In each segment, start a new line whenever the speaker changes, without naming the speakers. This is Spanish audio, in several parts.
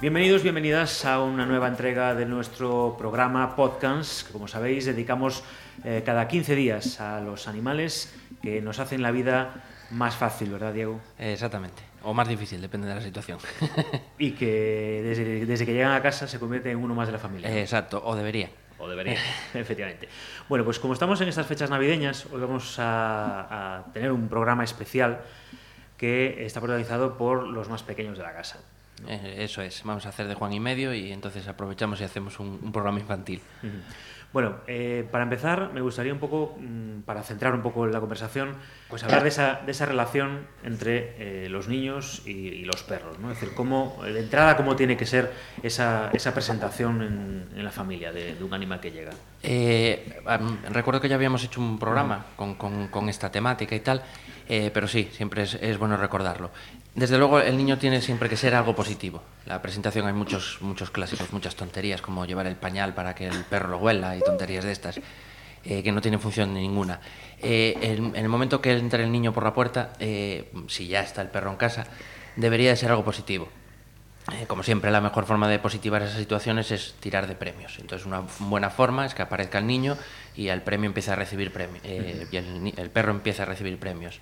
Bienvenidos, bienvenidas a una nueva entrega de nuestro programa Podcast, que como sabéis dedicamos eh, cada 15 días a los animales que nos hacen la vida más fácil, ¿verdad, Diego?
Exactamente. O más difícil, depende de la situación.
Y que desde, desde que llegan a casa se convierte en uno más de la familia.
Eh, Exacto, o debería.
Eh, O debería, efectivamente. Bueno, pues como estamos en estas fechas navideñas, hoy vamos a, a tener un programa especial que está protagonizado por los más pequeños de la casa.
Eh, Eso es, vamos a hacer de Juan y medio y entonces aprovechamos y hacemos un, un programa infantil.
Ujú. Bueno, eh, para empezar, me gustaría un poco, mm, para centrar un poco la conversación, pues hablar de esa, de esa relación entre eh, los niños y, y los perros, ¿no? Es decir, cómo, de entrada, cómo tiene que ser esa, esa presentación en, en la familia de, de un animal que llega.
Eh, am, recuerdo que ya habíamos hecho un programa con, con- con esta temática y tal, eh, pero sí, siempre es, es bueno recordarlo. Desde luego, el niño tiene siempre que ser algo positivo. La presentación hay muchos, muchos clásicos, muchas tonterías, como llevar el pañal para que el perro lo huela y tonterías de estas, eh, que no tienen función ninguna. Eh, en, en el momento que entra el niño por la puerta, eh, si ya está el perro en casa, debería de ser algo positivo. Eh, como siempre, la mejor forma de positivar esas situaciones es tirar de premios. Entonces, una f- buena forma es que aparezca el niño y el premio empieza a recibir premios. y el, ni- el perro empieza a recibir premios.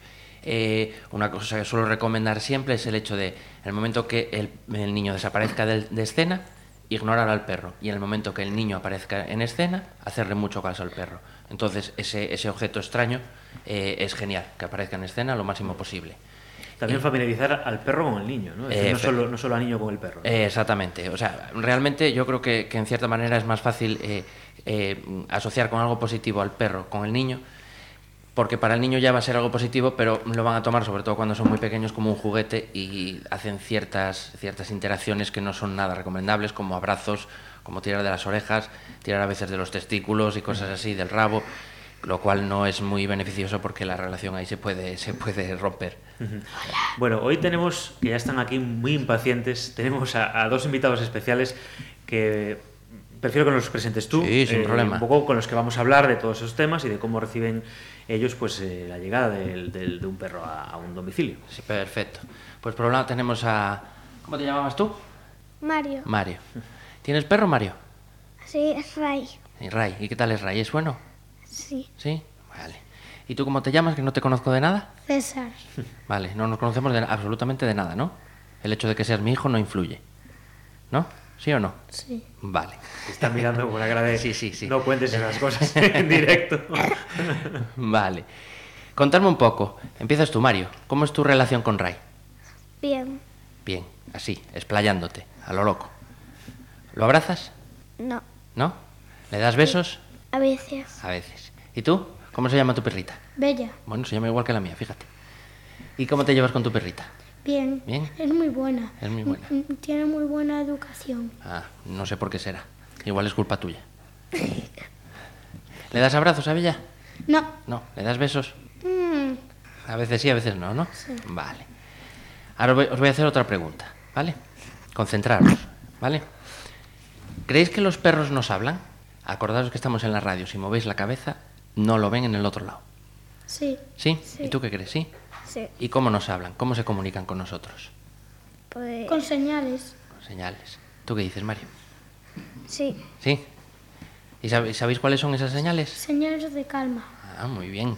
Eh, una cosa que suelo recomendar siempre es el hecho de, en el momento que el, el niño desaparezca del- de escena, ignorar al perro. Y en el momento que el niño aparezca en escena, hacerle mucho caso al perro. Entonces, ese, ese objeto extraño eh, es genial, que aparezca en escena lo máximo posible.
También familiarizar al perro con el niño, ¿no? Es
Eh,
decir, no
efe-
solo, no solo al niño con el perro. ¿no?
Eh, exactamente. O sea, realmente yo creo que, que en cierta manera es más fácil eh, eh, asociar con algo positivo al perro, con el niño, porque para el niño ya va a ser algo positivo, pero lo van a tomar, sobre todo cuando son muy pequeños, como un juguete y hacen ciertas, ciertas interacciones que no son nada recomendables, como abrazos, como tirar de las orejas, tirar a veces de los testículos y cosas así, del rabo, lo cual no es muy beneficioso porque la relación ahí se puede, se puede romper.
Bueno, hoy tenemos, que ya están aquí muy impacientes, tenemos a, a dos invitados especiales que prefiero que los presentes tú, eh,
Sí, sin problema.
un poco con los que vamos a hablar de todos esos temas y de cómo reciben ellos pues eh, la llegada del- del- de un perro a, a un domicilio.
Sí, perfecto. Pues por un lado tenemos a... ¿Cómo te llamabas tú?
Mario.
Mario. ¿Tienes perro, Mario?
Sí, es Ray.
Y Ray. ¿Y qué tal es Ray? ¿Es bueno?
Sí.
¿Sí? Vale. ¿Y tú cómo te llamas, que no te conozco de nada?
César.
Vale, no nos conocemos de- absolutamente de nada, ¿no? El hecho de que seas mi hijo no influye. ¿No? ¿Sí o no?
Sí.
Vale.
Te Están mirando con la cara de
Sí, sí, sí.
no cuentes esas cosas en directo.
Vale. Contarme un poco. Empiezas tú, Mario. ¿Cómo es tu relación con Ray?
Bien.
Bien, así, explayándote, a lo loco. ¿Lo abrazas?
No.
¿No? ¿Le das besos?
A veces.
A veces. ¿Y tú? ¿Cómo se llama tu perrita?
Bella.
Bueno, se llama igual que la mía, fíjate. ¿Y cómo te llevas con tu perrita?
Bien.
Bien.
Es muy buena.
Es muy buena.
Mm, mm, Tiene muy buena educación.
Ah, no sé por qué será. Igual es culpa tuya. ¿Le das abrazos a Bella?
No.
No. ¿Le das besos?
Mm,
A veces sí, a veces no, ¿no? Vale. Ahora os voy- os voy a hacer otra pregunta, ¿vale? Concentraros, ¿vale? ¿Creéis que los perros nos hablan? Acordaros que estamos en la radio. Si movéis la cabeza, no lo ven en el otro lado.
Sí.
¿Sí?
Sí.
¿Y tú qué crees? ¿Sí?
Sí.
¿Y cómo nos hablan? ¿Cómo se comunican con nosotros?
Con señales.
Con señales. ¿Tú qué dices, Mario?
Sí.
¿Sí? ¿Y sabe- sabéis cuáles son esas señales?
Señales de calma.
Ah, muy bien.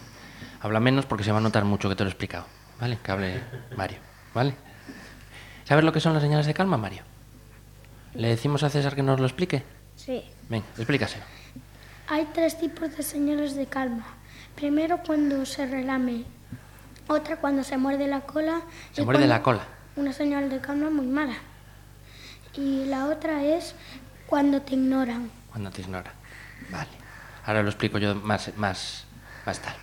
Habla menos porque se va a notar mucho que te lo he explicado. ¿Vale? Que hable Mario. ¿Vale? ¿Sabes lo que son las señales de calma, Mario? ¿Le decimos a César que nos lo explique?
Sí.
Ven, explícaselo.
Hay tres tipos de señales de calma. Primero cuando se relame. Otra cuando se muerde la cola.
Se
y
muerde
cuando-
la cola.
Una señal de calma muy mala. Y la otra es cuando te ignoran.
Cuando te ignora. Vale. Ahora lo explico yo más, más, más tal.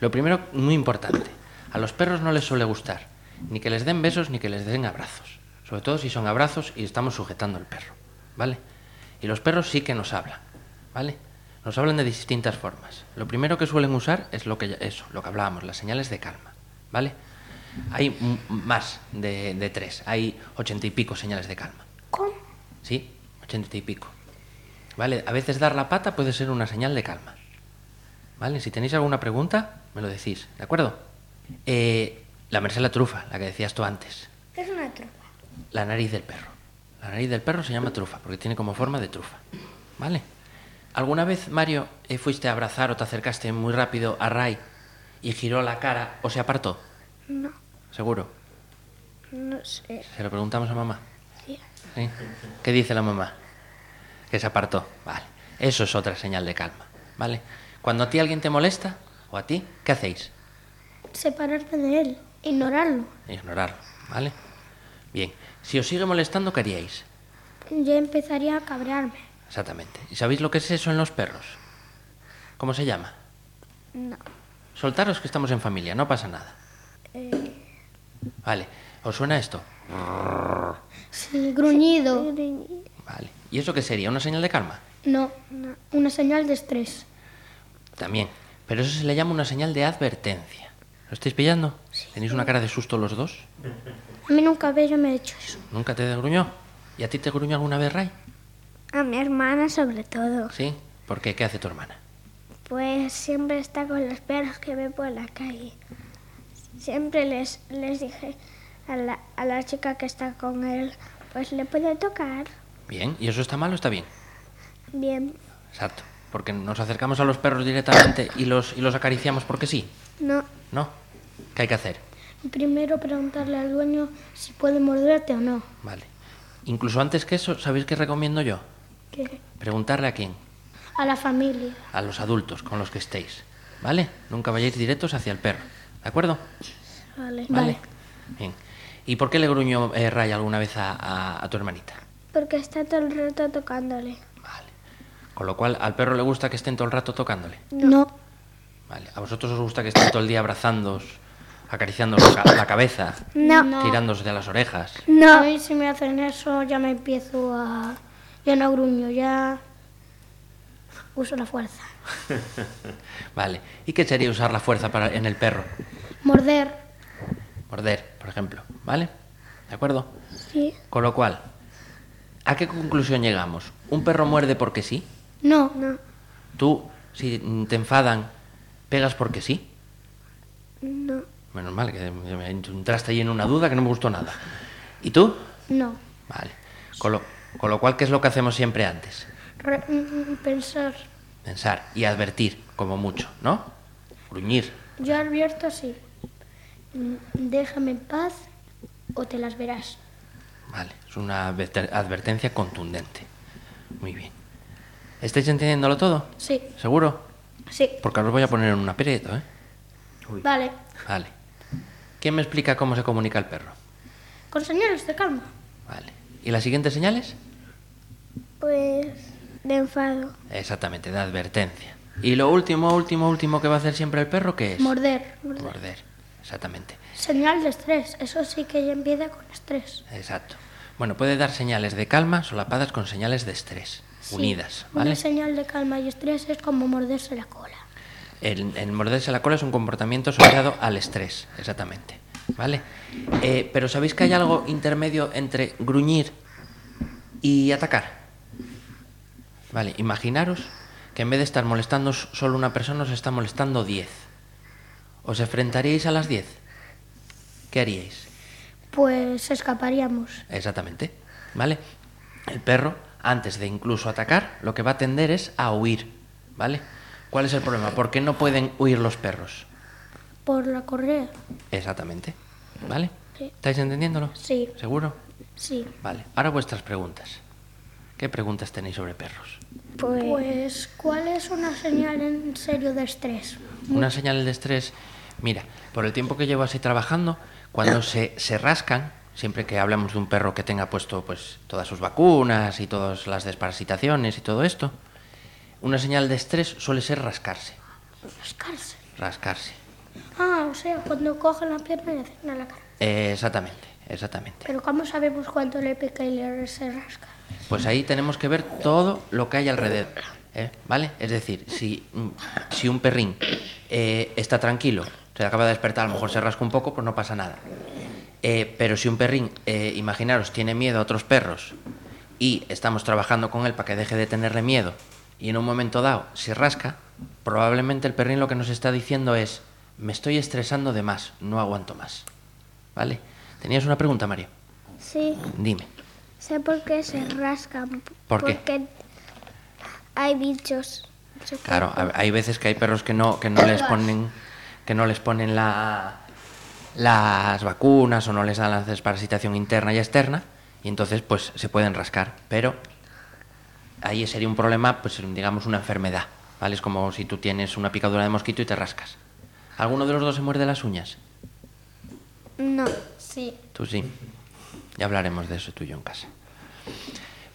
Lo primero, muy importante. A los perros no les suele gustar ni que les den besos ni que les den abrazos. Sobre todo si son abrazos y estamos sujetando al perro, ¿vale? Y los perros sí que nos hablan, ¿vale? Nos hablan de distintas formas. Lo primero que suelen usar es lo que ya- eso, lo que hablábamos, las señales de calma, ¿vale? Hay m- más de, de tres, hay ochenta y pico señales de calma,
¿Cómo?
¿sí? Ochenta y pico. ¿Vale? A veces dar la pata puede ser una señal de calma. ¿Vale? Si tenéis alguna pregunta, me lo decís, ¿de acuerdo? Eh, la merced a la trufa, la que decías tú antes.
¿Qué es una tropa?
La nariz del perro. La nariz del perro se llama trufa porque tiene como forma de trufa. ¿Vale? ¿Alguna vez, Mario, eh, fuiste a abrazar o te acercaste muy rápido a Ray y giró la cara o se apartó?
No,
Seguro.
no sé.
Se lo preguntamos a mamá.
tía.
¿Sí? ¿Eh? ¿Qué dice la mamá? Que se apartó. Vale. Eso es otra señal de calma. ¿Vale? Cuando a ti alguien te molesta o a ti, ¿qué hacéis?
Separarme de él, ignorarlo.
Ignorarlo. ¿Vale? Bien. Si os sigue molestando, ¿qué haríais?
Ya empezaría a cabrearme.
Exactamente. ¿Y sabéis lo que es eso en los perros? ¿Cómo se llama?
No.
Soltaros que estamos en familia, no pasa nada. Vale, ¿os suena esto?
Sí, gruñido.
Vale. ¿Y eso qué sería? ¿Una señal de calma?
No, una señal de estrés.
También. Pero eso se le llama una señal de advertencia. ¿Lo estáis pillando? ¿Tenéis una cara de susto los dos?
A mí nunca había yo me he hecho eso.
¿Nunca te gruñó? ¿Y a ti te gruñó alguna vez, Ray?
A mi hermana sobre todo.
¿Sí? ¿Por qué? ¿Qué hace tu hermana?
Pues siempre está con los perros que ve por la calle. Siempre les, les dije a la, a la chica que está con él, pues le puede tocar.
Bien. ¿Y eso está mal o está bien?
Bien,
Exacto. Porque nos acercamos a los perros directamente y los, y los acariciamos porque sí.
no,
¿No? ¿Qué hay que hacer?
Primero preguntarle al dueño si puede morderte o no.
Vale. Incluso antes que eso, ¿sabéis qué recomiendo yo?
¿Qué?
Preguntarle a quién.
A la familia.
a los adultos con los que estéis, ¿vale? Nunca vayáis directos hacia el perro, ¿de acuerdo?
Vale.
Bien. ¿Y por qué le gruñó eh, Ray alguna vez a, a- a tu hermanita?
porque está todo el rato tocándole.
Vale. Con lo cual, al perro le gusta que estén todo el rato tocándole.
No.
Vale. ¿A vosotros os gusta que estén todo el día abrazándoos, acariciando la, ca- la cabeza,
No.
tirándose de las orejas?
No. A mí si me hacen eso ya me empiezo a... Ya no gruño, ya uso la fuerza.
Vale. ¿Y qué sería usar la fuerza para, en el perro?
Morder.
Morder, por ejemplo, ¿vale? ¿De acuerdo?
Sí.
Con lo cual, ¿a qué conclusión llegamos? ¿Un perro muerde porque sí?
No. No.
Tú, si mm, te enfadan, pegas porque sí.
No,
Menos mal que me me entraste ahí en una duda que no me gustó nada. ¿Y tú?
No.
Vale. Con lo, con lo cual, ¿qué es lo que hacemos siempre antes?
Re- mm, mm, pensar.
Pensar y advertir, como mucho, ¿no? Gruñir.
Yo advierto así. Mm, Déjame en paz o te las verás.
Vale. Es una adver- advertencia contundente. Muy bien. ¿Estáis entendiéndolo todo?
Sí.
¿Seguro?
Sí.
Porque os voy a poner en un aprieto, ¿eh?
Vale.
Vale. ¿Quién me explica cómo se comunica el perro?
Con señales de calma.
Vale. ¿Y las siguientes señales?
pues de enfado.
Exactamente, de advertencia. Y lo último, último, último que va a hacer siempre el perro, ¿qué es?
Morder.
Morder. Exactamente,
Señal de estrés. Eso sí que ya empieza con estrés.
exacto. Bueno, puede dar señales de calma solapadas con señales de estrés,
Sí,
unidas,
Una
¿vale?
señal de calma y estrés es como morderse la cola.
El, el morderse la cola es un comportamiento asociado al estrés, exactamente, ¿vale? Eh, pero ¿sabéis que hay algo intermedio entre gruñir y atacar? Vale, imaginaros que en vez de estar molestando solo una persona, os está molestando 10. ¿Os enfrentaríais a las 10? ¿Qué haríais?
Pues escaparíamos.
Exactamente. ¿Vale? El perro, antes de incluso atacar, lo que va a tender es a huir. ¿Vale? ¿Cuál es el problema? ¿Por qué no pueden huir los perros?
Por la correa.
Exactamente. ¿Vale? ¿Estáis entendiéndolo?
Sí.
¿Seguro?
Sí.
Vale. Ahora vuestras preguntas. ¿Qué preguntas tenéis sobre perros?
Pues,
Pues, ¿cuál es una señal en serio de estrés?
Una señal de estrés. Mira, por el tiempo que llevo así trabajando, cuando se, se rascan, siempre que hablamos de un perro que tenga puesto pues todas sus vacunas y todas las desparasitaciones y todo esto, una señal de estrés suele ser rascarse.
Rascarse.
Rascarse.
Ah, o sea, cuando cogen la pierna y hacen a la cara.
Eh, exactamente, exactamente.
Pero ¿cómo sabemos cuánto le pica y le se rasca?
Pues ahí tenemos que ver todo lo que hay alrededor. ¿eh? ¿Vale? Es decir, si, mm, si un perrín eh, está tranquilo, se acaba de despertar, a lo mejor se rasca un poco, pues no pasa nada. Eh, pero si un perrín, eh, imaginaros, tiene miedo a otros perros y estamos trabajando con él para que deje de tenerle miedo y en un momento dado se rasca, probablemente el perrín lo que nos está diciendo es, me estoy estresando de más, no aguanto más. ¿Vale? Tenías una pregunta, María.
Sí,
Dime.
sé por qué se rascan.
¿Por qué?
Porque hay bichos. en su
Claro,
cuerpo.
a- hay veces que hay perros que no, que no les ponen, que no les ponen la, las vacunas o no les dan la desparasitación interna y externa, y entonces pues se pueden rascar. Pero ahí sería un problema, pues digamos una enfermedad. ¿Vale? Es como si tú tienes una picadura de mosquito y te rascas. ¿Alguno de los dos se muerde las uñas?
No,
Sí.
Tú sí. Ya hablaremos de eso tú y yo en casa.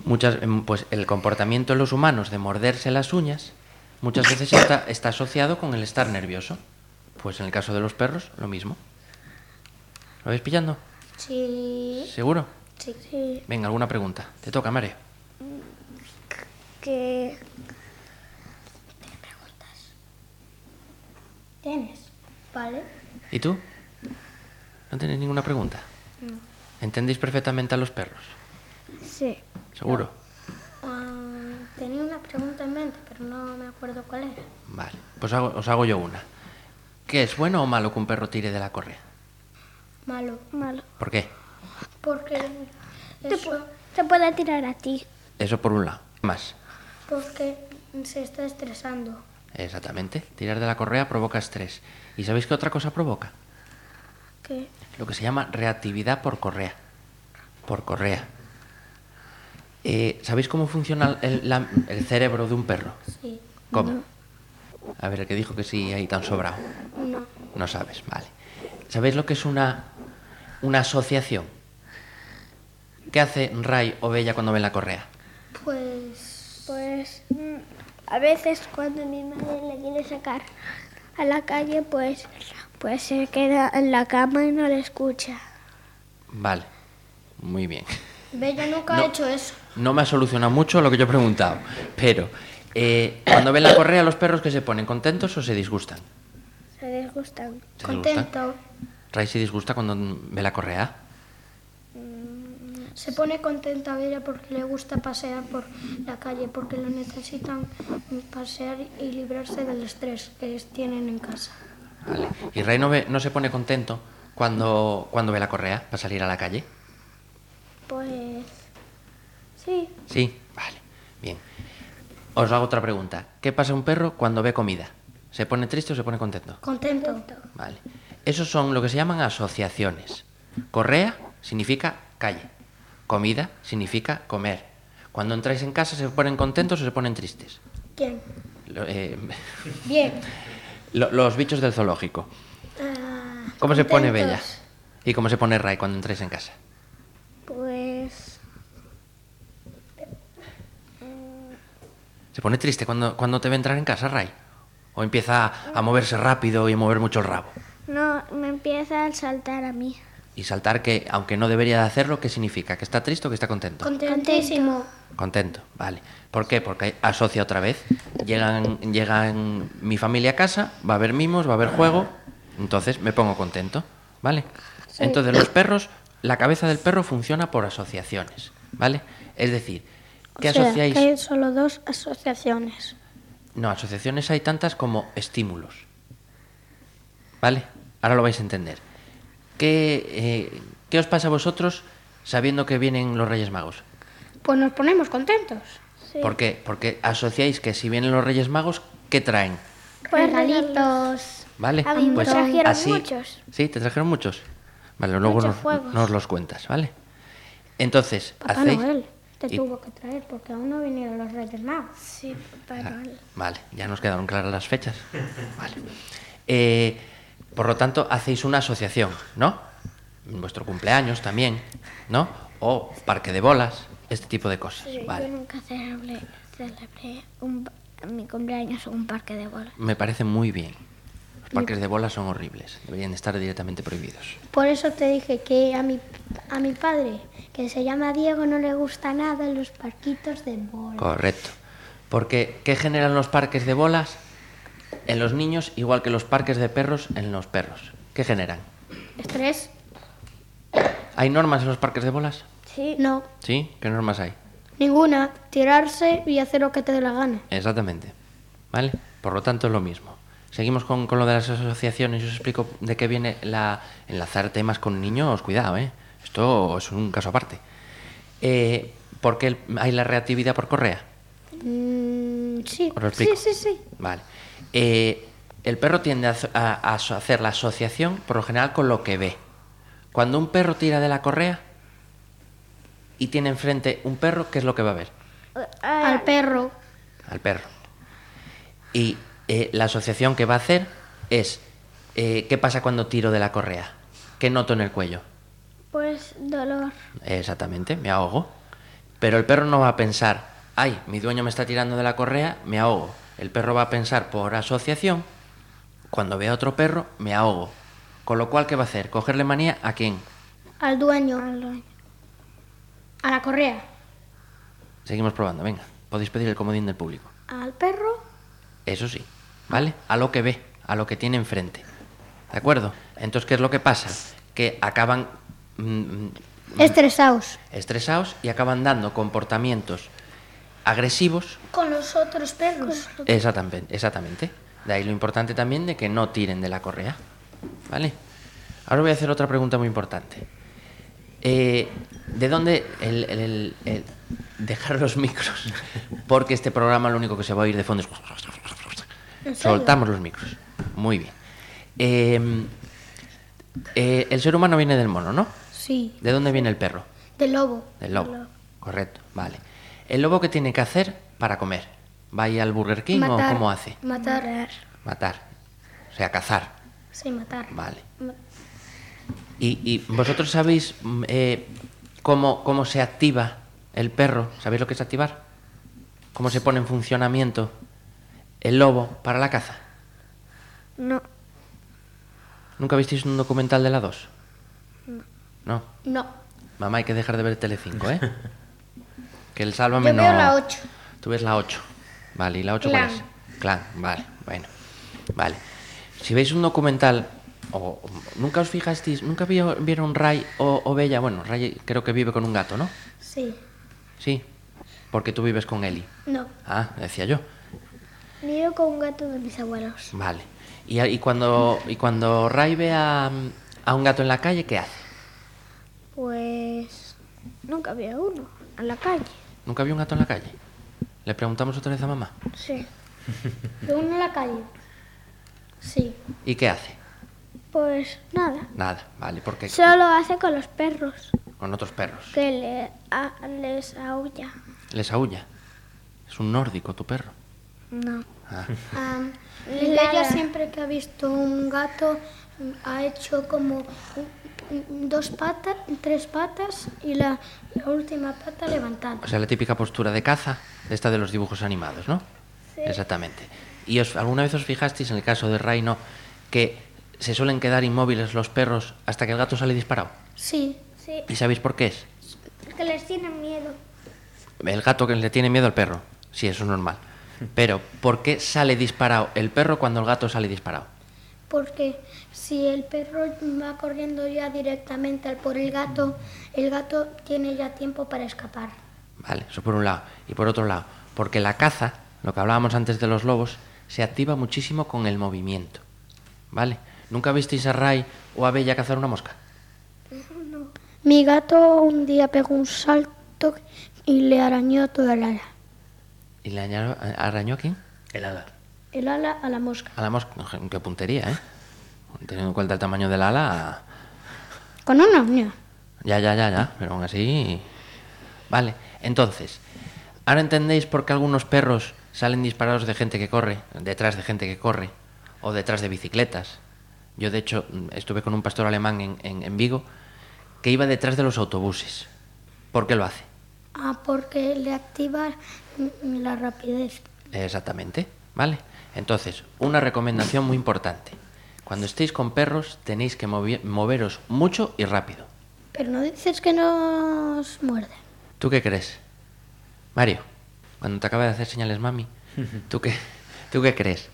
Muchas, em, pues el comportamiento de los humanos de morderse las uñas muchas veces está, está asociado con el estar nervioso. Pues en el caso de los perros, lo mismo. ¿Lo vais pillando?
Sí.
¿Seguro?
Sí.
Venga, alguna pregunta. Te toca, María.
que
Tienes. Vale.
¿Y tú? ¿No tienes ninguna pregunta? ¿Entendéis perfectamente a los perros?
sí.
¿Seguro?
Ah, tenía una pregunta en mente, pero no me acuerdo cuál era.
Vale. Pues hago- os hago yo una. ¿Qué es bueno o malo que un perro tire de la correa?
Malo.
Malo.
¿Por qué?
Porque
Te,
eso-
pu- te puede tirar a ti.
Eso por un lado. ¿Qué Más.
porque se está estresando.
Exactamente. Tirar de la correa provoca estrés. ¿Y sabéis qué otra cosa provoca?
¿Qué?
Lo que se llama reactividad por correa. Por correa. Eh, ¿Sabéis cómo funciona el, la- el cerebro de un perro?
Sí.
¿Cómo? A ver, el que dijo que sí, ahí tan sobrado.
No.
No sabes, vale. ¿Sabéis lo que es una, una asociación? ¿Qué hace Ray o Bella cuando ven la correa?
Pues.
Pues mm, a veces cuando mi madre le quiere sacar a la calle, pues, pues se queda en la cama y no le escucha.
Vale. Muy bien.
Bella nunca
No.
ha hecho eso.
No me ha solucionado mucho lo que yo he preguntado, pero eh, cuando ven la correa, los perros que se ponen contentos o se disgustan.
Se disgustan.
¿Se disgustan?
Contento.
Ray se disgusta cuando ve la correa.
Se pone contenta Bella porque le gusta pasear por la calle, porque lo necesitan pasear y librarse del estrés que es- tienen en casa.
Vale. Y Ray no, ve- no se pone contento cuando, cuando ve la correa para salir a la calle.
Pues sí,
Sí, vale, bien. Os hago otra pregunta. ¿Qué pasa a un perro cuando ve comida? ¿Se pone triste o se pone contento?
Contento.
Vale. Esos son lo que se llaman asociaciones. Correa significa calle. Comida significa comer. Cuando entráis en casa, ¿se ponen contentos o se ponen tristes?
¿Quién?
Lo- eh,
Bien.
lo- los bichos del zoológico.
Ah,
¿Cómo se pone Bella?
Contentos.
¿Y cómo se pone Ray cuando entráis en casa?
pues
¿Se pone triste cuando, cuando te ve entrar en casa, Ray? ¿O empieza a, a moverse rápido y a mover mucho el rabo?
no, me empieza a saltar a mí.
Y saltar que, aunque no debería de hacerlo, ¿qué significa? ¿Que está triste o que está contento?
Contentísimo.
Contento, vale. ¿Por qué? Porque asocia otra vez. Llegan, llegan mi familia a casa, va a haber mimos, va a haber juego, entonces me pongo contento, ¿vale? Entonces los perros, la cabeza del perro funciona por asociaciones, ¿vale? Es decir, ¿qué asociáis?
solo dos asociaciones.
No, asociaciones hay tantas como estímulos, ¿vale? Ahora lo vais a entender. ¿Qué, eh, ¿Qué os pasa a vosotros sabiendo que vienen los Reyes Magos?
Pues nos ponemos contentos.
Sí.
¿Por qué? Porque asociáis que si vienen los Reyes Magos, ¿qué traen?
Pues
Regalitos.
¿Vale?
A mí me trajeron muchos.
Sí, te trajeron muchos. Vale, luego
Muchos
nos,
juegos.
nos los cuentas, ¿vale? Entonces,
Papá
hacéis.
Noel te
y-
tuvo que traer porque aún no vinieron los Reyes Magos.
Sí, papá Noel.
Vale, ya nos quedaron claras las fechas. Vale. Eh, por lo tanto, hacéis una asociación, ¿no? En vuestro cumpleaños también, ¿no? O parque de bolas, este tipo de cosas.
Yo
Vale.
nunca celebré, celebré un, pa- mi cumpleaños en un parque de bolas.
Me parece muy bien. Los parques de bolas son horribles, deberían estar directamente prohibidos.
Por eso te dije que a mi, a mi padre, que se llama Diego, no le gusta nada los parquitos de bola.
Correcto. Porque, ¿qué generan los parques de bolas en los niños igual que los parques de perros en los perros? ¿Qué generan?
¿Estrés?
¿Hay normas en los parques de bolas?
Sí.
No,
¿Sí? ¿Qué normas hay?
ninguna. Tirarse y hacer lo que te dé la gana.
Exactamente. ¿Vale? Por lo tanto, es lo mismo. Seguimos con, con lo de las asociaciones. Yo os explico de qué viene la, enlazar temas con niños. Cuidado, ¿eh? Esto es un caso aparte. Eh, ¿Por qué el- hay la reactividad por correa?
Mm, sí.
Os lo
sí,
explico.
sí, sí.
Vale. Eh, el perro tiende a, aso- a- a aso- hacer la asociación por lo general con lo que ve. Cuando un perro tira de la correa y tiene enfrente un perro, ¿qué es lo que va a ver?
Ah,
Al perro.
al perro. Y eh, la asociación que va a hacer es eh, qué pasa cuando tiro de la correa, qué noto en el cuello.
pues dolor.
Exactamente, me ahogo. Pero el perro no va a pensar, ay, mi dueño me está tirando de la correa, me ahogo. El perro va a pensar por asociación, cuando vea otro perro, me ahogo. Con lo cual, ¿qué va a hacer? ¿Cogerle manía a quién?
Al dueño. A la correa.
Seguimos probando, venga. Podéis pedir el comodín del público.
Al perro.
Eso sí, ¿vale? A lo que ve, a lo que tiene enfrente. ¿De acuerdo? Entonces, ¿qué es lo que pasa? Que acaban mm,
Estresaos.
estresados y acaban dando comportamientos agresivos.
Con los otros perros.
Exactamente, exactamente. De ahí lo importante también de que no tiren de la correa. ¿Vale? Ahora voy a hacer otra pregunta muy importante. Eh, ¿De dónde el, el- el- el- dejar los micros? Porque este programa lo único que se va a oír de fondo es... Soltamos los micros. Muy bien. Eh, eh, el ser humano viene del mono, ¿no?
Sí.
¿De dónde viene el perro?
De lobo.
Del lobo. Correcto, vale. ¿El lobo qué tiene que hacer para comer? ¿Va a ir al Burger King o cómo hace?
Matar.
Matar. O sea, cazar.
Sí, matar.
Vale. ¿Y, y vosotros sabéis mm, eh, cómo, cómo se activa el perro? ¿Sabéis lo que es activar? ¿Cómo se pone en funcionamiento el lobo para la caza?
No.
¿Nunca visteis un documental de la 2? No.
No.
Mamá, hay que dejar de ver Telecinco, ¿eh? que el sálvame
Yo
no...
veo la 8.
Tú ves la 8. Vale, ¿y la 8 cuál
Clan.
es? Clan, vale, bueno. Vale. Si veis un documental, o, o- nunca os fijasteis, nunca vio- vieron Ray o, o Bella, bueno, Ray creo que vive con un gato, ¿no?
Sí.
Sí, porque tú vives con Eli.
No.
Ah, decía yo.
Vivo con un gato de mis abuelos.
Vale. Y, a- y cuando, y cuando Ray ve a, a un gato en la calle, ¿qué hace?
Pues nunca había uno en la calle.
¿Nunca vio un gato en la calle? Le preguntamos otra vez a mamá.
Sí.
De uno en la calle. Sí.
¿Y qué hace?
Pues nada.
Nada, vale, porque
Solo hace con los perros,
con otros perros.
que le, a- les aúlla.
Les aúlla. Es un nórdico tu perro.
No.
Ah.
Leia siempre que ha visto un gato mm, ha hecho como mm, mm, dos patas, tres patas y la, la última pata levantada.
O sea, la típica postura de caza, de esta de los dibujos animados, ¿no? Exactamente. ¿Y os, alguna vez os fijasteis en el caso de Reino que se suelen quedar inmóviles los perros hasta que el gato sale disparado?
Sí.
Sí,
¿Y sabéis por qué es?
porque les tienen miedo.
El gato que le tiene miedo al perro. Sí, eso es normal. Pero, ¿por qué sale disparado el perro cuando el gato sale disparado?
Porque si el perro va corriendo ya directamente al por el gato, el gato tiene ya tiempo para escapar.
Vale, eso por un lado. Y por otro lado, porque la caza, lo que hablábamos antes de los lobos, se activa muchísimo con el movimiento. ¿Vale? ¿Nunca visteis a Ray o a Bella cazar una mosca?
Mi gato un día pegó un salto y le arañó toda el ala.
¿Y le añado- arañó a quién?
El ala.
El ala a la mosca.
A la mosca. Qué puntería, ¿eh? Teniendo en cuenta el tamaño del ala.
Con una uña.
Ya, ya, ya, ya. Pero aún así. Vale. Entonces, ¿ahora entendéis por qué algunos perros salen disparados de gente que corre, detrás de gente que corre, o detrás de bicicletas? Yo, de hecho, estuve con un pastor alemán en, en- en Vigo que iba detrás de los autobuses. ¿Por qué lo hace?
Ah, porque le activa mm, la rapidez.
Exactamente, ¿vale? Entonces, una recomendación muy importante. Cuando estéis con perros tenéis que movi- moveros mucho y rápido.
Pero no dices que nos muerden.
¿Tú qué crees? Mario, cuando te acaba de hacer señales mami, ¿tú qué, ¿tú qué crees?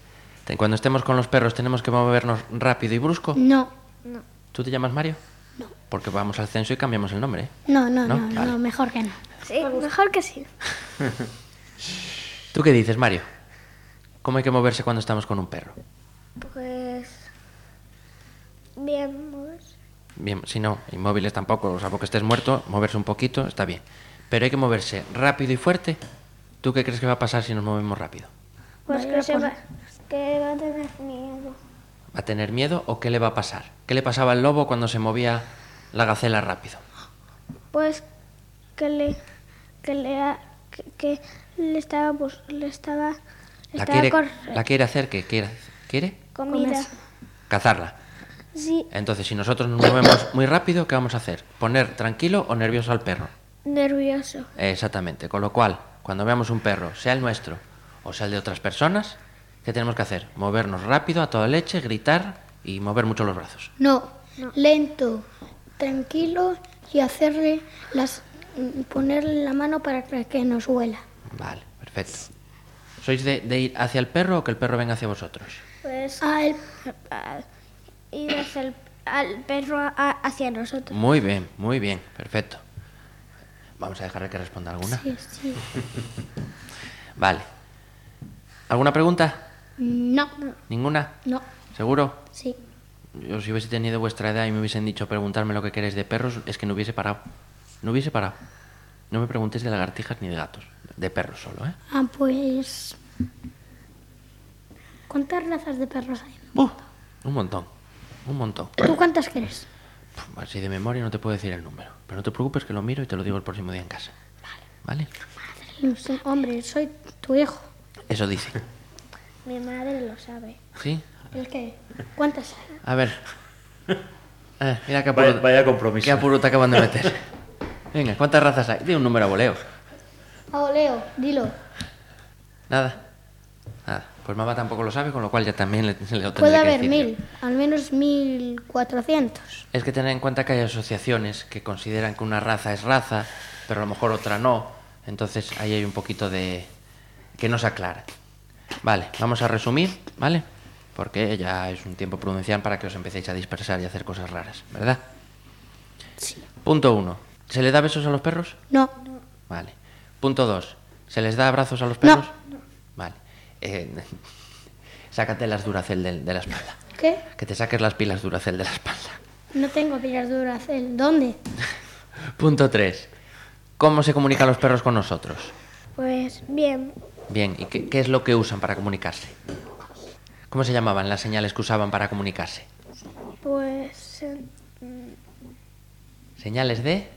Te- Cuando estemos con los perros tenemos que movernos rápido y brusco.
Mm.
No,
¿Tú te llamas Mario? No. Porque vamos al censo y cambiamos el nombre. ¿eh?
no, no,
¿No?
no, no,
Vale.
mejor que no.
Sí, mejor que sí.
¿Tú qué dices, Mario? ¿Cómo hay que moverse cuando estamos con un perro?
Pues. Bien, pues,
Bien, si no, inmóviles tampoco, o sea, porque estés muerto, moverse un poquito está bien. Pero hay que moverse rápido y fuerte. ¿Tú qué crees que va a pasar si nos movemos rápido?
pues
Vaya
que, se
con-
va, que va a tener miedo.
¿Va a tener miedo o qué le va a pasar? ¿Qué le pasaba al lobo cuando se movía la gacela rápido?
Pues que le. que le. ha- que, que le estaba. bus- le estaba. le
¿La
estaba
quiere,
cor-
la quiere hacer qué? ¿Quiere? ¿Quiere?
comida.
Comerse.
Cazarla.
Sí,
Entonces, si nosotros nos movemos muy rápido, ¿qué vamos a hacer? ¿Poner tranquilo o nervioso al perro?
nervioso.
Eh, Exactamente. Con lo cual, cuando veamos un perro, sea el nuestro o sea el de otras personas, ¿qué tenemos que hacer? Movernos rápido, a toda leche, gritar y mover mucho los brazos.
No, lento, tranquilo y hacerle las mm, ponerle la mano para que nos huela.
Vale, perfecto. ¿Sois de, de ir hacia el perro o que el perro venga hacia vosotros?
Pues.
Ah, el-
a- ir hacia el, al perro a- hacia nosotros.
Muy bien, muy bien, perfecto. Vamos a dejarle que responda alguna.
sí, sí.
Vale. ¿Alguna pregunta?
No,
¿Ninguna?
no,
¿Seguro?
sí.
Yo si hubiese tenido vuestra edad y me hubiesen dicho preguntarme lo que queréis de perros, es que no hubiese parado. No hubiese parado. No me preguntéis de lagartijas ni de gatos. De perros solo, ¿eh?
Ah, pues. ¿Cuántas razas de perros hay?
¡Buf! Un montón. Un montón.
¿Tú cuántas crees?
Puf, así de memoria no te puedo decir el número. Pero no te preocupes que lo miro y te lo digo el próximo día en casa. Vale.
No sé, hombre, soy tu hijo.
Eso dice.
Mi madre lo sabe.
¿Sí?
¿El qué? ¿Cuántas hay?
A ver. Eh, mira qué
Vaya,
apuro,
vaya
qué
compromiso.
apuro te acaban de meter. Venga, ¿cuántas razas hay? Di un número a voleo.
Oh,
Ah, Leo, dilo.
Nada. Nada. Pues mamá tampoco lo sabe, con lo cual ya también le, le lo tendré
Puede
que
haber
decir yo.
mil, al menos mil cuatrocientos.
Es que tener en cuenta que hay asociaciones que consideran que una raza es raza, pero a lo mejor otra no. Entonces ahí hay un poquito de... que no se aclara. Vale, vamos a resumir, ¿vale? Porque ya es un tiempo prudencial para que os empecéis a dispersar y a hacer cosas raras, ¿verdad? Sí. Punto uno. ¿Se le da besos a los perros?
No,
Vale. Punto 2. ¿Se les da abrazos a los perros? Vale. Eh, sácate las duracel de, de la espalda.
¿qué?
Que te saques las pilas duracel de la espalda.
No tengo pilas duras. ¿El ¿Dónde?
Punto 3. ¿Cómo se comunican los perros con nosotros?
Pues bien,
Bien, ¿y qué, qué es lo que usan para comunicarse? ¿Cómo se llamaban las señales que usaban para comunicarse?
pues sen-
Señales de,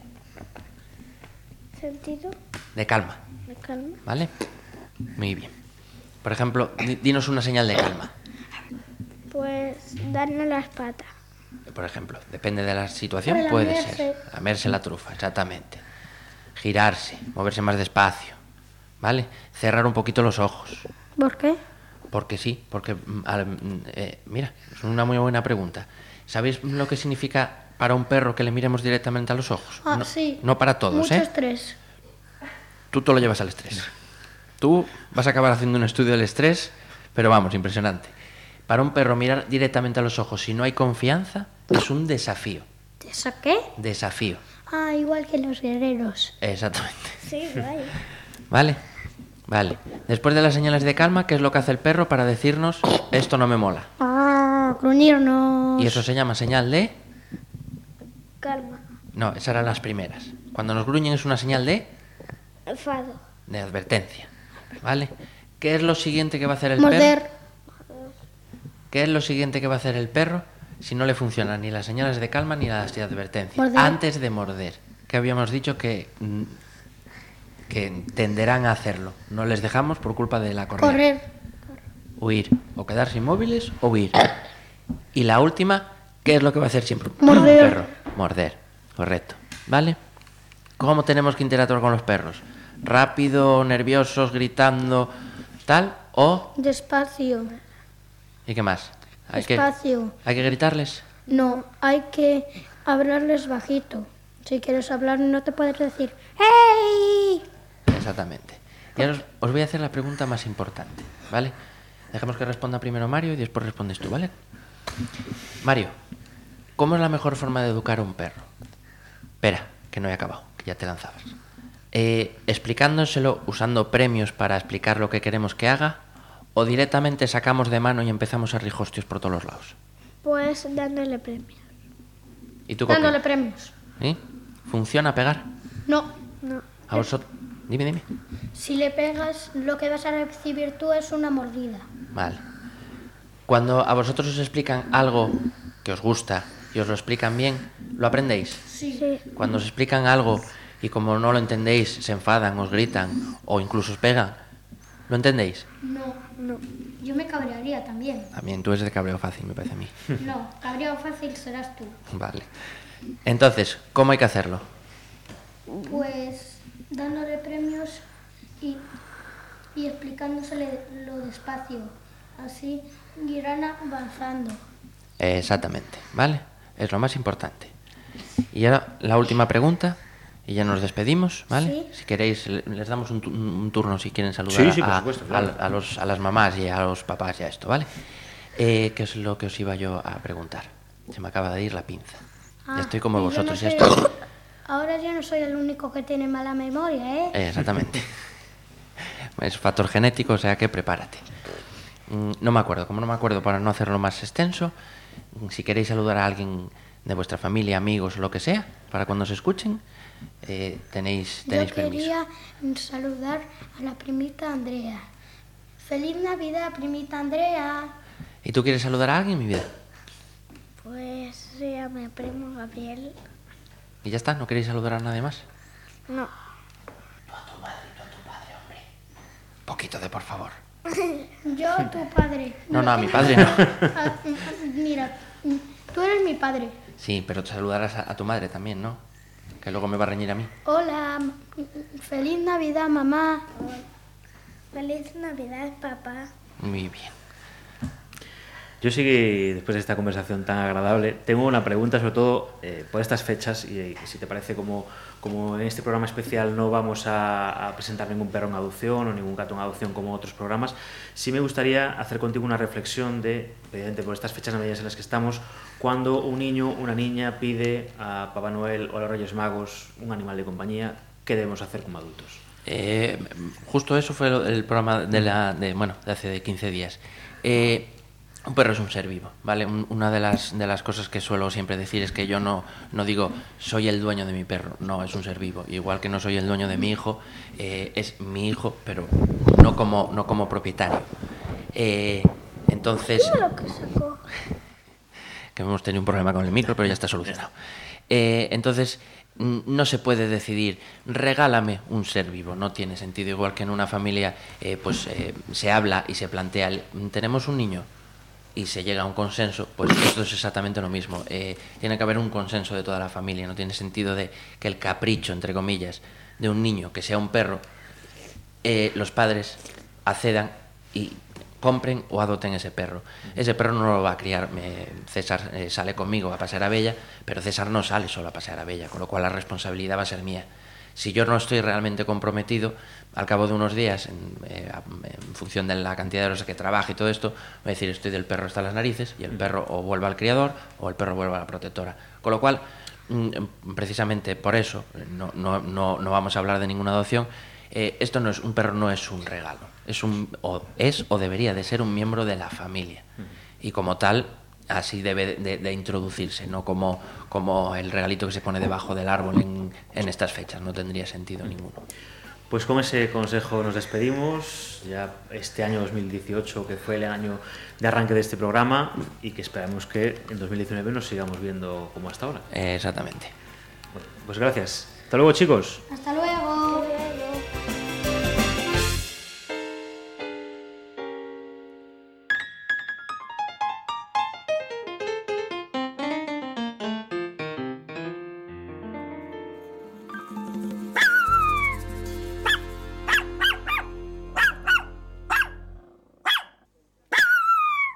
sentido
de calma,
de calma.
¿vale? Muy bien. Por ejemplo, di- dinos una señal de calma.
Pues darnos las patas.
Por ejemplo, depende de la situación,
Para
puede
lamerse.
ser. Lamerse la trufa, exactamente. Girarse, moverse más despacio, ¿vale? Cerrar un poquito los ojos.
¿Por qué?
Porque sí, porque... mm, al- mm, eh, mira, es una muy buena pregunta. ¿Sabéis lo que significa para un perro que le miremos directamente a los ojos?
Ah,
no,
sí.
No para todos,
Muchos
¿eh?
tres.
Tú todo lo llevas al estrés. Tú vas a acabar haciendo un estudio del estrés, pero vamos, impresionante. Para un perro mirar directamente a los ojos si no hay confianza es un desafío.
¿Te saqué?
Desafío.
Ah, igual que los guerreros.
Exactamente.
Sí, vaya.
Vale. Vale. Después de las señales de calma, ¿qué es lo que hace el perro para decirnos esto no me mola?
Ah, gruñirnos.
Y eso se llama señal de.
Calma.
No, esas eran las primeras. Cuando nos gruñen es una señal de.
Enfado.
de advertencia. ¿Vale? ¿Qué es lo siguiente que va a hacer el
Morder.
perro? ¿Qué es lo siguiente que va a hacer el perro si no le funcionan ni las señales de calma ni las de advertencia?
Morder.
Antes de morder. Que habíamos dicho que. mm, que tenderán a hacerlo. No les dejamos por culpa de la correa.
Correr.
huir o quedarse inmóviles o huir. Y la última, ¿qué es lo que va a hacer siempre? un
Morder.
perro? Morder, correcto. ¿Vale? ¿Cómo tenemos que interactuar con los perros? ¿Rápido, nerviosos, gritando, tal? ¿O?
Despacio.
¿Y qué más? Hay que,
Espacio.
hay que gritarles.
No, hay que hablarles bajito. Si quieres hablar no te puedes decir ¡Hey!
Exactamente. Y ahora os, os voy a hacer la pregunta más importante, ¿vale? Dejemos que responda primero Mario y después respondes tú, ¿vale? Mario, ¿cómo es la mejor forma de educar a un perro? Espera, que no he acabado, que ya te lanzabas. Eh, ¿Explicándoselo usando premios para explicar lo que queremos que haga? ¿O directamente sacamos de mano y empezamos a rijostios por todos los lados?
Pues dándole premio.
¿Y tú qué
Dándole
opinas?
premios.
¿Sí? ¿Funciona pegar?
No,
No.
¿A vosotros? Dime, dime.
si le pegas lo que vas a recibir tú es una mordida.
Vale. Cuando a vosotros os explican algo que os gusta y os lo explican bien, lo aprendéis.
Sí.
Cuando os explican algo y como no lo entendéis, se enfadan, os gritan o incluso os pegan, ¿lo entendéis?
No, no. Yo me cabrearía también.
También tú eres de cabreo fácil, me parece a mí.
No, cabreado fácil serás tú.
Vale. Entonces, ¿cómo hay que hacerlo?
Pues dándole premios y, y explicándosele lo despacio. Así irán avanzando.
Eh, Exactamente, ¿vale? Es lo más importante. Y ahora la última pregunta, y ya nos despedimos, ¿vale? Si queréis, le- les damos un, tu- un turno si quieren saludar
Sí, sí, por
a,
supuesto,
a-
claro.
a los- a las mamás y a los papás y a esto, ¿vale? Eh, ¿Qué es lo que os iba yo a preguntar? Se me acaba de ir la pinza. ya estoy como
Ah, y yo no
vosotros, ya
soy-
estoy.
Ahora yo no soy el único que tiene mala memoria, ¿eh?
Eh, Exactamente. Es factor genético, o sea que prepárate. Mm, No me acuerdo, como no me acuerdo, para no hacerlo más extenso, mm, si queréis saludar a alguien de vuestra familia, amigos, lo que sea, para cuando se escuchen, eh, tenéis,
Yo
tenéis
quería saludar a la primita Andrea. Feliz Navidad, primita Andrea.
permiso. ¿Y tú quieres saludar a alguien, mi vida?
Pues sí, a mi primo Gabriel.
Y ya está, no queréis saludar a nadie más.
No.
Poquito de por favor.
Yo, tu padre.
No, no, a mi padre no.
Ah, Mira, tú eres mi padre.
Sí, pero saludarás a, a tu madre también, ¿no? Que luego me va a reñir a mí.
Hola, feliz Navidad, mamá.
Feliz Navidad, papá.
Muy bien.
Yo sí que, después de esta conversación tan agradable, tengo una pregunta, sobre todo eh, por estas fechas, y eh, si te parece, como, como en este programa especial no vamos a, a presentar ningún perro en adopción o ningún gato en adopción como otros programas, sí me gustaría hacer contigo una reflexión de, evidentemente por estas fechas navideñas en las que estamos, cuando un niño, una niña pide a Papá Noel o a los Reyes Magos un animal de compañía, ¿qué debemos hacer como adultos?
Eh, justo eso fue lo- el programa de, la, de, bueno, de hace de 15 días. Eh, un perro es un ser vivo, ¿vale? Un- una de las, de las cosas que suelo siempre decir es que yo no, no digo soy el dueño de mi perro, no, es un ser vivo. Igual que no soy el dueño de mi hijo, eh, es mi hijo, pero no como, no como propietario. Eh, entonces
Lo que sacó.
que hemos tenido un problema con el micro, pero ya está solucionado. Eh, entonces, mm, no se puede decidir, regálame un ser vivo, no tiene sentido. Igual que en una familia, eh, pues eh, se habla y se plantea, el, "Mm, tenemos un niño y se llega a un consenso, pues esto es exactamente lo mismo. Eh, tiene que haber un consenso de toda la familia, no tiene sentido de que el capricho, entre comillas, de un niño, que sea un perro, eh, los padres accedan y compren o adopten ese perro. Ese perro no lo va a criar. eh, César eh, sale conmigo a pasear a Bella, pero César no sale solo a pasear a Bella, con lo cual la responsabilidad va a ser mía. Si yo no estoy realmente comprometido, al cabo de unos días, en, eh, a- en función de la cantidad de horas que trabaje y todo esto, voy a decir estoy del perro hasta las narices y el perro o vuelve al criador o el perro vuelve a la protectora. Con lo cual, mm, precisamente por eso, eh, no, no- no- no vamos a hablar de ninguna adopción, eh, esto no es un perro no es un regalo, es un o es o debería de ser un miembro de la familia y como tal así debe de, de introducirse, no como como el regalito que se pone debajo del árbol en, en estas fechas, no tendría sentido ninguno.
Pues con ese consejo nos despedimos. Ya este año 2018, que fue el año de arranque de este programa, y que esperamos que en 2019 nos sigamos viendo como hasta ahora.
Eh, exactamente.
Bueno, pues gracias. Hasta luego, chicos.
Hasta luego.